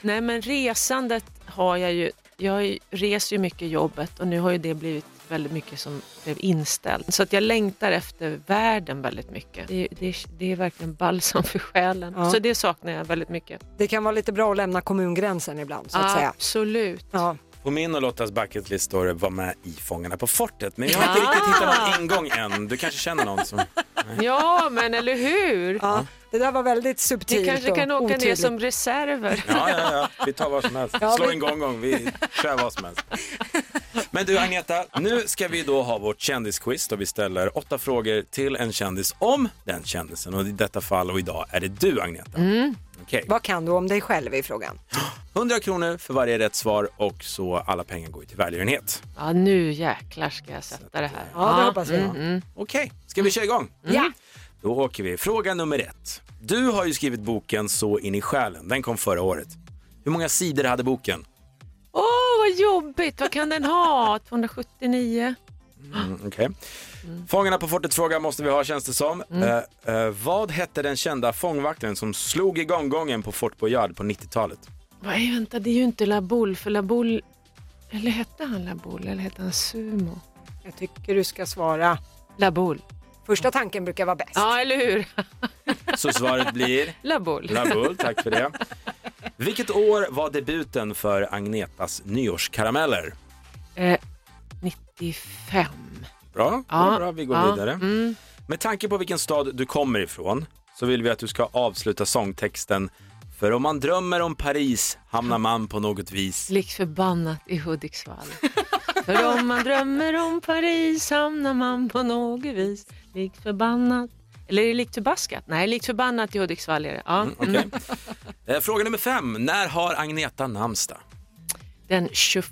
Speaker 12: Nej men resandet har jag ju, jag reser ju mycket i jobbet och nu har ju det blivit väldigt mycket som blev inställt. Så att jag längtar efter världen väldigt mycket. Det, det, det är verkligen balsam för själen.
Speaker 5: Ja.
Speaker 12: Så det saknar jag väldigt mycket.
Speaker 5: Det kan vara lite bra att lämna kommungränsen ibland så att säga.
Speaker 12: Absolut.
Speaker 5: Ja.
Speaker 4: På min och Lottas bucketlist står det var med i Fångarna på fortet, men jag har inte riktigt hittat någon ingång än. Du kanske känner någon som...
Speaker 12: Ja, men eller hur?
Speaker 5: Ja, det där var väldigt subtilt
Speaker 12: Vi kanske kan
Speaker 5: och
Speaker 12: åka ner
Speaker 5: otydligt.
Speaker 12: som reserver.
Speaker 4: Ja, ja, ja. Vi tar vad som helst.
Speaker 12: Ja,
Speaker 4: Slå
Speaker 12: vi-
Speaker 4: en gång, gång. Vi kör vad som helst. Men du Agneta, nu ska vi då ha vårt kändisquiz då vi ställer åtta frågor till en kändis om den kändisen. Och i detta fall och idag är det du Agneta.
Speaker 5: Mm.
Speaker 4: Okej.
Speaker 5: Vad kan du om dig själv i frågan?
Speaker 4: 100 kronor för varje rätt svar och så alla pengar går ju till välgörenhet.
Speaker 12: Ja, nu jäklar ska jag sätta det här.
Speaker 4: Ja, det hoppas
Speaker 12: Mm,
Speaker 4: jag.
Speaker 12: Okej.
Speaker 4: Ska vi köra igång?
Speaker 12: Mm. Ja.
Speaker 4: Då åker vi. Fråga nummer ett. Du har ju skrivit boken Så in i själen. Den kom förra året. Hur många sidor hade boken?
Speaker 12: Åh, så jobbigt. Vad kan den ha? 279?
Speaker 4: Mm, okej. Fångarna på fortet-fråga måste vi ha känns det som.
Speaker 12: Mm.
Speaker 4: Eh, eh, vad hette den kända fångvakten som slog igång gången på Fort Boyard på 90-talet?
Speaker 12: Nej, vänta, det är ju inte Laboul, för Laboul... Eller hette han Laboul eller hette han Sumo?
Speaker 5: Jag tycker du ska svara
Speaker 12: Laboul.
Speaker 5: Första tanken brukar vara bäst.
Speaker 12: Ja, eller hur?
Speaker 4: Så svaret blir?
Speaker 12: Laboul.
Speaker 4: Laboul, tack för det. Vilket år var debuten för Agnetas nyårskarameller?
Speaker 12: Eh, 95.
Speaker 4: Bra,
Speaker 12: Ja,
Speaker 4: bra vi går
Speaker 12: ja,
Speaker 4: vidare.
Speaker 12: mm.
Speaker 4: Med tanke på vilken stad du kommer ifrån så vill vi att du ska avsluta sångtexten För om man drömmer om Paris hamnar man på något vis
Speaker 12: Likt förbannat i Hudiksvall. För om man drömmer om Paris hamnar man på något vis likt förbannat. Eller är det likt förbaskat? Nej, likt förbannat i Hudiksvall är det. Ja.
Speaker 4: Mm, okej. Eh, Fråga nummer fem. När har Agneta namnsdag?
Speaker 12: Den 21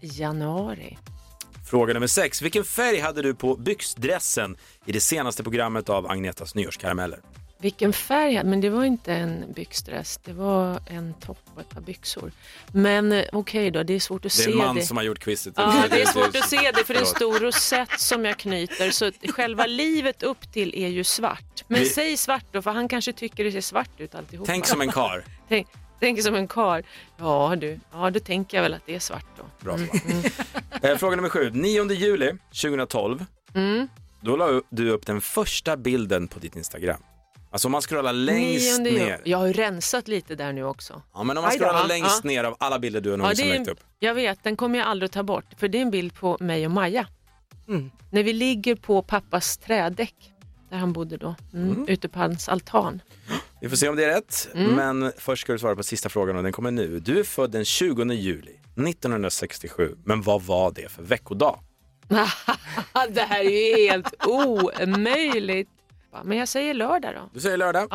Speaker 12: januari.
Speaker 4: Fråga nummer sex. Vilken färg hade du på byxdressen i det senaste programmet av Agnetas nyårskarameller?
Speaker 12: Vilken färg hade Men det var inte en byxdress. Det var en topp och ett par byxor. Men eh, okej då, det är svårt att
Speaker 4: Det
Speaker 12: se
Speaker 4: är en man
Speaker 12: det.
Speaker 4: som har gjort quizet.
Speaker 12: Ja, det är svårt att se det för det är en stor rosett som jag knyter. Så att själva livet upp till är ju svart. Men
Speaker 4: Vi-
Speaker 12: säg svart då, för han kanske tycker det ser svart ut alltihopa.
Speaker 4: Tänk som en kar.
Speaker 12: Tänk, tänk som en kar. Ja du, ja då tänker jag väl att det är svart då.
Speaker 4: Bra svar. Eh, Fråga nummer sju. 9 juli 2012,
Speaker 12: Mm.
Speaker 4: då la du upp den första bilden på ditt Instagram. Alltså om man scrollar längst
Speaker 12: Nionde ju-
Speaker 4: ner.
Speaker 12: Jag har ju rensat lite där nu också.
Speaker 4: Ja, men om man
Speaker 12: Aj då.
Speaker 4: scrollar
Speaker 12: Ja,
Speaker 4: längst
Speaker 12: ja.
Speaker 4: ner av alla bilder du
Speaker 12: Ja,
Speaker 4: någonsin
Speaker 12: det är,
Speaker 4: lagt upp.
Speaker 12: jag vet, den kommer jag aldrig att ta bort. För det är en bild på mig och Maja. När vi ligger på pappas trädäck, där han bodde då, mm,
Speaker 4: Mm.
Speaker 12: ute på hans altan.
Speaker 4: Vi får se om det är rätt,
Speaker 12: Mm.
Speaker 4: men först ska du svara på sista frågan och den kommer nu. Du är född den 20 juli 1967, men vad var det för veckodag?
Speaker 12: det här är ju helt omöjligt. Men jag säger lördag då.
Speaker 4: Du säger lördag.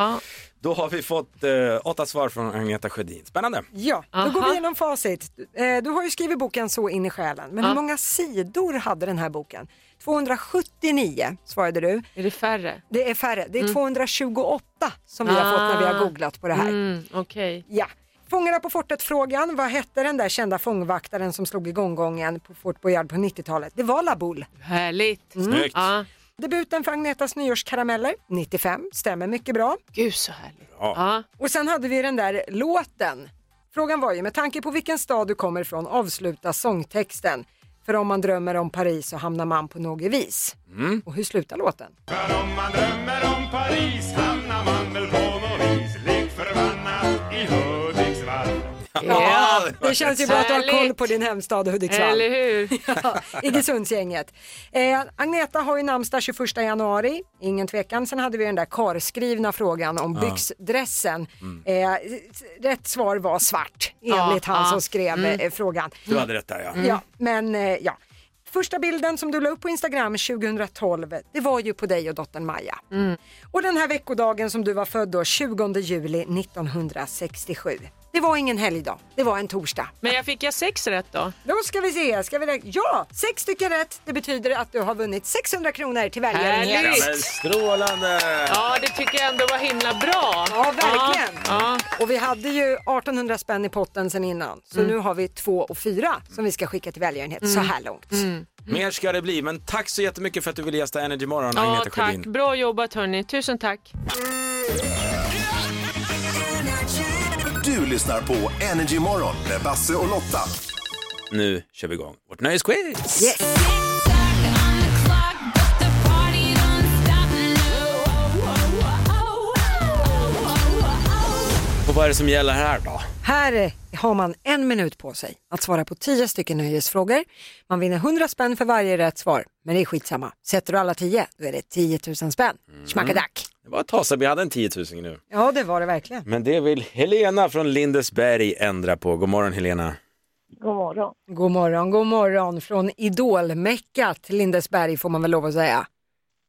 Speaker 4: Då har vi fått eh, åtta svar från Agneta Sjödin. Spännande.
Speaker 5: Ja, då går vi
Speaker 12: Aha.
Speaker 5: igenom facit. Eh, Du har ju skrivit boken Så in i själen, men
Speaker 12: Ja.
Speaker 5: hur många sidor hade den här boken? 279 svarade du.
Speaker 12: Är det färre?
Speaker 5: Det är färre. Det är
Speaker 12: Mm.
Speaker 5: 228 som vi har fått när vi har
Speaker 12: Ah.
Speaker 5: googlat på det här.
Speaker 12: Mm, Okej.
Speaker 5: Ja. Fångarna på fortet-frågan, vad hette den där kända fångvaktaren som slog igång gången på Fort Boyard på 90-talet? Det var Laboul.
Speaker 12: Härligt.
Speaker 5: Mm.
Speaker 4: Snyggt.
Speaker 12: Ja.
Speaker 5: Debuten för Agnetas nyårskarameller, 95, stämmer mycket bra.
Speaker 12: Gud så härligt.
Speaker 4: Ja.
Speaker 5: Och sen hade vi den där låten. Frågan var ju, med tanke på vilken stad du kommer ifrån, avsluta sångtexten. För om man drömmer om Paris så hamnar man på något vis.
Speaker 12: Mm.
Speaker 5: Och hur slutar låten?
Speaker 21: För om man drömmer om Paris hamnar man väl på något vis likt förbannat i Hudiksvall.
Speaker 5: det känns ju bra att du har koll på din hemstad Hudiksvall.
Speaker 12: Eller hur?
Speaker 5: Ja, Iggesundsgänget. Eh, Agneta har ju namnsdag 21 januari, ingen tvekan. Sen hade vi den där karskrivna frågan om
Speaker 12: Ja. Mm.
Speaker 5: byxdressen. Eh, s- rätt svar var svart, enligt
Speaker 12: Ja,
Speaker 5: han
Speaker 12: ja.
Speaker 5: som skrev
Speaker 12: Mm.
Speaker 5: eh, frågan.
Speaker 4: Du hade rätt där Mm. ja.
Speaker 5: Ja, men eh, ja. Första bilden som du la upp på Instagram 2012, det var ju på dig och dottern Maja.
Speaker 12: Mm.
Speaker 5: Och den här veckodagen som du var född då, 20 juli 1967. Det var ingen helgdag, det var en torsdag.
Speaker 12: Men jag fick jag sex rätt då?
Speaker 5: Då ska vi se, ska vi räkna? Ja, sex stycken rätt. Det betyder att du har vunnit 600 kronor till välgörenhet.
Speaker 4: Ja, men strålande!
Speaker 12: Ja, det tycker jag ändå var himla bra.
Speaker 5: Ja, verkligen.
Speaker 12: Ja,
Speaker 5: Och vi hade ju 1800 spänn i potten sen innan. Så
Speaker 4: Mm.
Speaker 5: nu har vi 2 och 4 som vi ska skicka till välgörenhet så
Speaker 12: Mm.
Speaker 5: här långt.
Speaker 4: Mer ska det bli, men tack så jättemycket för att du ville gästa Energy Morgon,
Speaker 12: ja. ja
Speaker 4: Agneta
Speaker 12: tack.
Speaker 4: Sjödin.
Speaker 12: Bra jobbat hörni. Tusen tack.
Speaker 7: Du lyssnar på Energy Morgon med Basse och Lotta.
Speaker 4: Nu kör vi igång vårt nöjesquiz. Och vad är det som gäller här då?
Speaker 5: Här har man en minut på sig att svara på 10 stycken nöjesfrågor. Man vinner 100 spänn för varje rätt svar, men det är skitsamma. Sätter du alla 10, då är det 10 000 spänn. Schmackadack!
Speaker 4: Det var ett tag sedan vi hade en 10 000 nu.
Speaker 5: Ja, det var det verkligen.
Speaker 4: Men det vill Helena från Lindesberg ändra på. God morgon Helena.
Speaker 5: God morgon. God morgon, god morgon. Från idolmecka till Lindesberg får man väl lov att säga.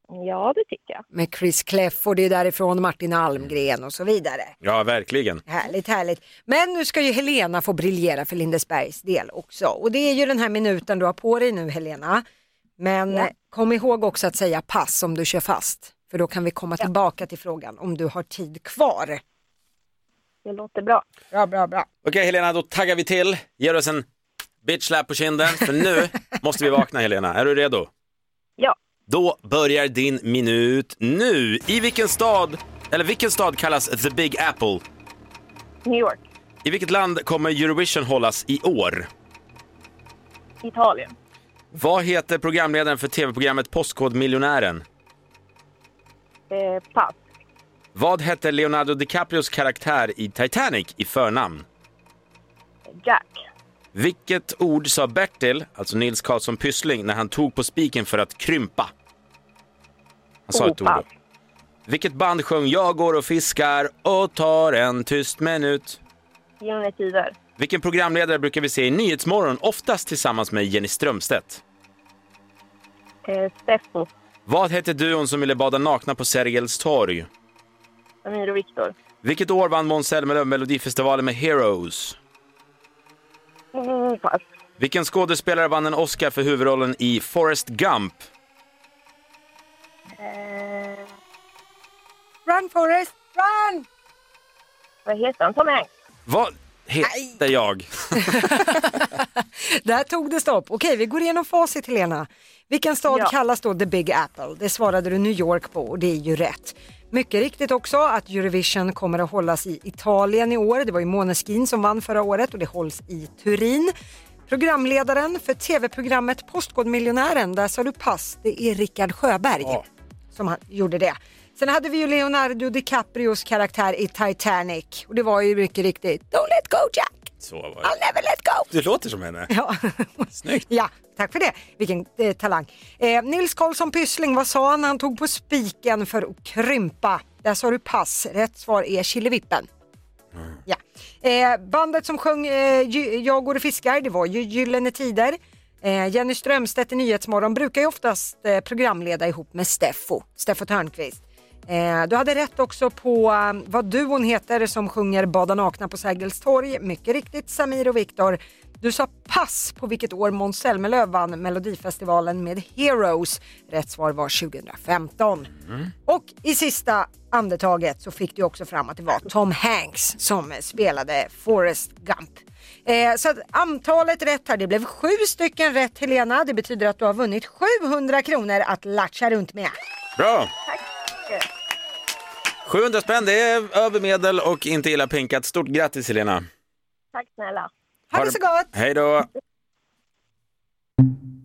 Speaker 10: Ja, det tycker jag.
Speaker 5: Med Chris Clefford, det är därifrån Martin Almgren och så vidare.
Speaker 4: Ja, verkligen.
Speaker 5: Härligt, härligt. Men nu ska ju Helena få briljera för Lindesbergs del också. Och det är ju den här minuten du har på dig nu Helena. Men eh, kom ihåg också att säga pass om du kör fast. För då kan vi komma tillbaka till frågan om du har tid kvar.
Speaker 10: Det låter bra.
Speaker 5: Bra, bra, bra.
Speaker 4: Okej Helena, då taggar vi till. Ger oss en bitch slap på kinden, för nu måste vi vakna Helena. Är du redo?
Speaker 10: Ja.
Speaker 4: Då börjar din minut nu. I vilken stad, eller vilken stad kallas The Big Apple?
Speaker 10: New York,
Speaker 4: I vilket land kommer Eurovision hållas i år?
Speaker 10: Italien,
Speaker 4: Vad heter programledaren för tv-programmet Postkodmiljonären?
Speaker 10: eh, pass,
Speaker 4: Vad hette Leonardo DiCaprios karaktär i Titanic i förnamn?
Speaker 10: Jack,
Speaker 4: Vilket ord sa Bertil, alltså Nils Karlsson Pyssling, när han tog på spiken för att krympa? Han sa ett ord då. Vilket band sjöng Jag går och fiskar och tar en tyst minut?
Speaker 10: Gyllene Tider,
Speaker 4: Vilken programledare brukar vi se i Nyhetsmorgon, oftast tillsammans med Jenny Strömstedt?
Speaker 10: eh, Steffo,
Speaker 4: Vad hette duon som ville bada nakna på Sergels torg?
Speaker 10: Amir och Viktor.
Speaker 4: Vilket år vann Måns Zelmerlöw Melodifestivalen med Heroes?
Speaker 10: Mm, pass,
Speaker 4: Vilken skådespelare vann en Oscar för huvudrollen i Forrest Gump?
Speaker 10: eh,
Speaker 5: Run Forrest, run!
Speaker 10: vad heter han? Tom Hanks.
Speaker 4: Vad heter jag?
Speaker 5: Där tog det stopp. Okej, vi går igenom facit Helena. Vilken stad
Speaker 10: Ja.
Speaker 5: kallas då The Big Apple? Det svarade du New York på och det är ju rätt. Mycket riktigt också att Eurovision kommer att hållas i Italien i år. Det var ju Måneskin som vann förra året och det hålls i Turin. Programledaren för tv-programmet Postkodmiljonären, där sa du pass, det är Rickard Sjöberg som han gjorde det. Sen hade vi ju Leonardo DiCaprios karaktär i Titanic och det var ju mycket riktigt Don't let go Jack,
Speaker 4: Så var
Speaker 5: I'll never let go.
Speaker 4: Du låter som henne.
Speaker 5: Ja. Ja, tack för det. Vilken eh, talang. Eh, Nils Karlsson Pyssling, vad sa han när han tog på spiken för att krympa? Där sa du pass. Rätt svar är Killevippen. Ja. Eh, bandet som sjöng eh, Gy- Jag går och fiskar, det var ju Gyllene Tider. Eh, Jenny Strömstedt i Nyhetsmorgon brukar ju oftast eh, programleda ihop med Steffo, Steffo Törnqvist. Eh, du hade rätt också på eh, vad duon heter som sjunger Bada nakna på Sergels torg. Mycket riktigt Samir och Viktor. Du sa pass på vilket år Måns Zelmerlöw vann Melodifestivalen med Heroes. Rätt svar var 2015. Och i sista andetaget så fick du också fram att det var Tom Hanks som spelade Forrest Gump. Eh, så att antalet rätt här, det blev sju stycken rätt Helena. Det betyder att du har vunnit 700 kronor att latcha runt med.
Speaker 4: Bra! 700 spänn, det är övermedel och inte illa pinkat. Stort grattis Helena!
Speaker 10: Tack snälla.
Speaker 4: Ha
Speaker 5: det så gott!
Speaker 4: Hej då!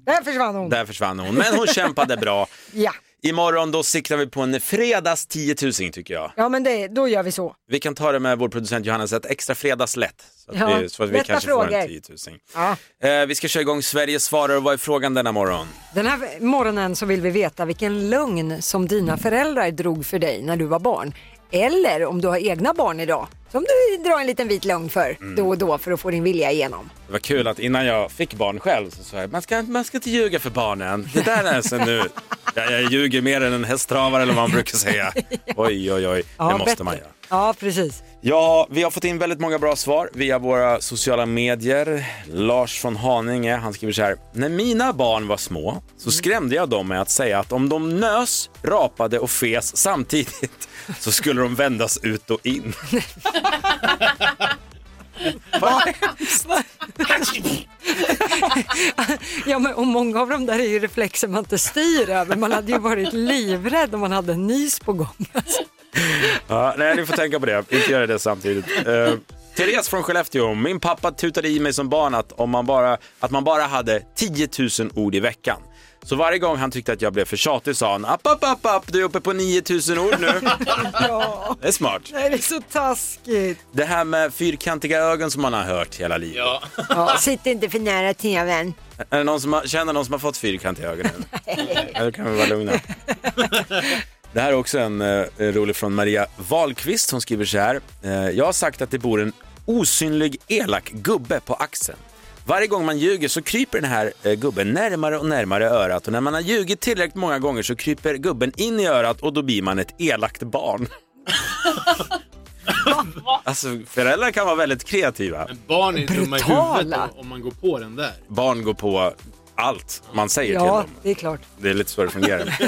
Speaker 5: Där försvann hon.
Speaker 4: Där försvann hon, men hon kämpade bra.
Speaker 5: Ja,
Speaker 4: Imorgon då siktar vi på en fredags 10 000 tycker jag.
Speaker 5: ja men det, då gör vi så.
Speaker 4: Vi kan ta det med vår producent Johannes, ett extra fredagslätt. Så att
Speaker 5: Ja,
Speaker 4: vi, så att vi
Speaker 5: lätta
Speaker 4: kanske får
Speaker 5: frågor.
Speaker 4: en 10 000.
Speaker 5: Ja.
Speaker 4: Eh, vi ska köra igång Sverige svarar och vad är frågan denna morgon?
Speaker 5: Den här morgonen så vill vi veta vilken lögn som dina föräldrar drog för dig när du var barn. Eller om du har egna barn idag, som du drar en liten vit lögn för då och då för att få din vilja igenom.
Speaker 4: Mm. Det var kul att innan jag fick barn själv så sa jag man ska, man ska inte ljuga för barnen. Det där är så nu. Jag, jag ljuger mer än en hästtravare eller vad man brukar säga. Oj, oj, oj.
Speaker 5: Ja,
Speaker 4: det måste
Speaker 5: bättre.
Speaker 4: man göra.
Speaker 5: Ja, precis.
Speaker 4: Ja, vi har fått in väldigt många bra svar via våra sociala medier. Lars från Haninge, han skriver så här. När mina barn var små så
Speaker 5: Mm.
Speaker 4: skrämde jag dem med att säga att om de nös, rapade och fes samtidigt så skulle de vändas ut och in.
Speaker 5: ja, men, och många av dem där är ju reflexer man inte styr över. Man hade ju varit livrädd om man hade en nys på gång.
Speaker 4: Ja, nej, ni får tänka på det. Inte göra det samtidigt. Uh, Therese från Skellefteå. Min pappa tutade i mig som barn att, om man bara, att man bara hade 10 000 ord i veckan. Så varje gång han tyckte att jag blev för tjatig sa han app, app, app, app, du är uppe på 9 000 ord nu.
Speaker 5: ja,
Speaker 4: Det är smart.
Speaker 5: nej, det är så taskigt.
Speaker 4: Det här med fyrkantiga ögon som man har hört hela livet.
Speaker 5: Ja, sitt inte för nära tvn.
Speaker 4: Är det någon som har, känner någon som har fått fyrkantiga ögon nu? Ja, Då kan vi vara lugna. Det här är också en eh, rolig från Maria Wahlqvist. Hon skriver så här. Eh, jag har sagt att det bor en osynlig elak gubbe på axeln. Varje gång man ljuger så kryper den här eh, gubben närmare och närmare örat och när man har ljugit tillräckligt många gånger så kryper gubben in i örat och då blir man ett elakt barn. alltså föräldrar kan vara väldigt kreativa.
Speaker 8: Barn är dumma i
Speaker 4: Brutala.
Speaker 8: huvudet om- om man går på den där.
Speaker 4: Barn går på allt man säger till
Speaker 5: Ja,
Speaker 4: dem.
Speaker 5: det är klart.
Speaker 4: Det är lite så det fungerar.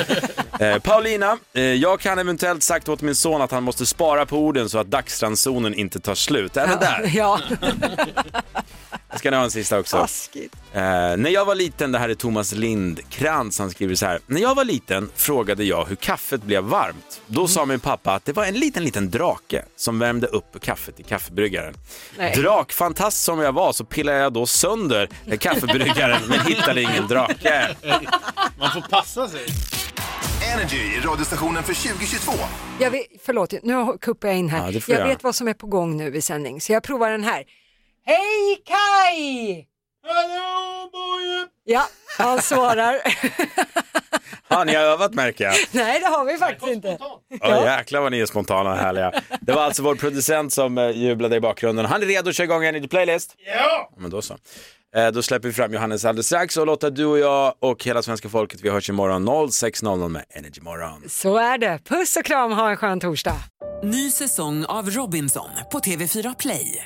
Speaker 4: eh, Paulina, eh, jag kan eventuellt sagt åt min son att han måste spara på orden så att dagsransonen inte tar slut. Även där.
Speaker 5: Ja.
Speaker 4: Ska ni ha en sista också?
Speaker 5: Taskigt.
Speaker 4: Eh, när jag var liten, det här är Thomas Lindkrantz, han skriver så här. När jag var liten frågade jag hur kaffet blev varmt. Då sa min pappa att det var en liten, liten drake som värmde upp kaffet i kaffebryggaren.
Speaker 12: Nej.
Speaker 4: Drakfantast som jag var så pillade jag då sönder eh, kaffebryggaren men hittade ingen drake.
Speaker 8: Man får passa sig.
Speaker 7: Energy, radiostationen för 2022.
Speaker 5: Jag vet, förlåt, nu kuppar jag in här.
Speaker 7: Ja, det får
Speaker 5: jag
Speaker 7: jag.
Speaker 5: vet vad som är på gång nu i sändning, så jag provar den här. Hej Kai!
Speaker 21: Hallå Boje!
Speaker 5: Ja, han svarar.
Speaker 4: Har ni har övat märker jag.
Speaker 5: Nej, det har vi faktiskt inte.
Speaker 4: Oh, jäklar vad ni är spontana och härliga. Det var alltså vår producent som eh, jublade i bakgrunden. Han är redo att köra igång en ny playlist? Ja! Men då så. Eh, Då släpper vi fram Johannes alldeles strax och Lotta, du och jag och hela svenska folket, vi hörs imorgon 06.00 med Energy Morgon.
Speaker 5: Så är det. Puss och kram, ha en skön torsdag.
Speaker 1: Ny säsong av Robinson på TV4 Play.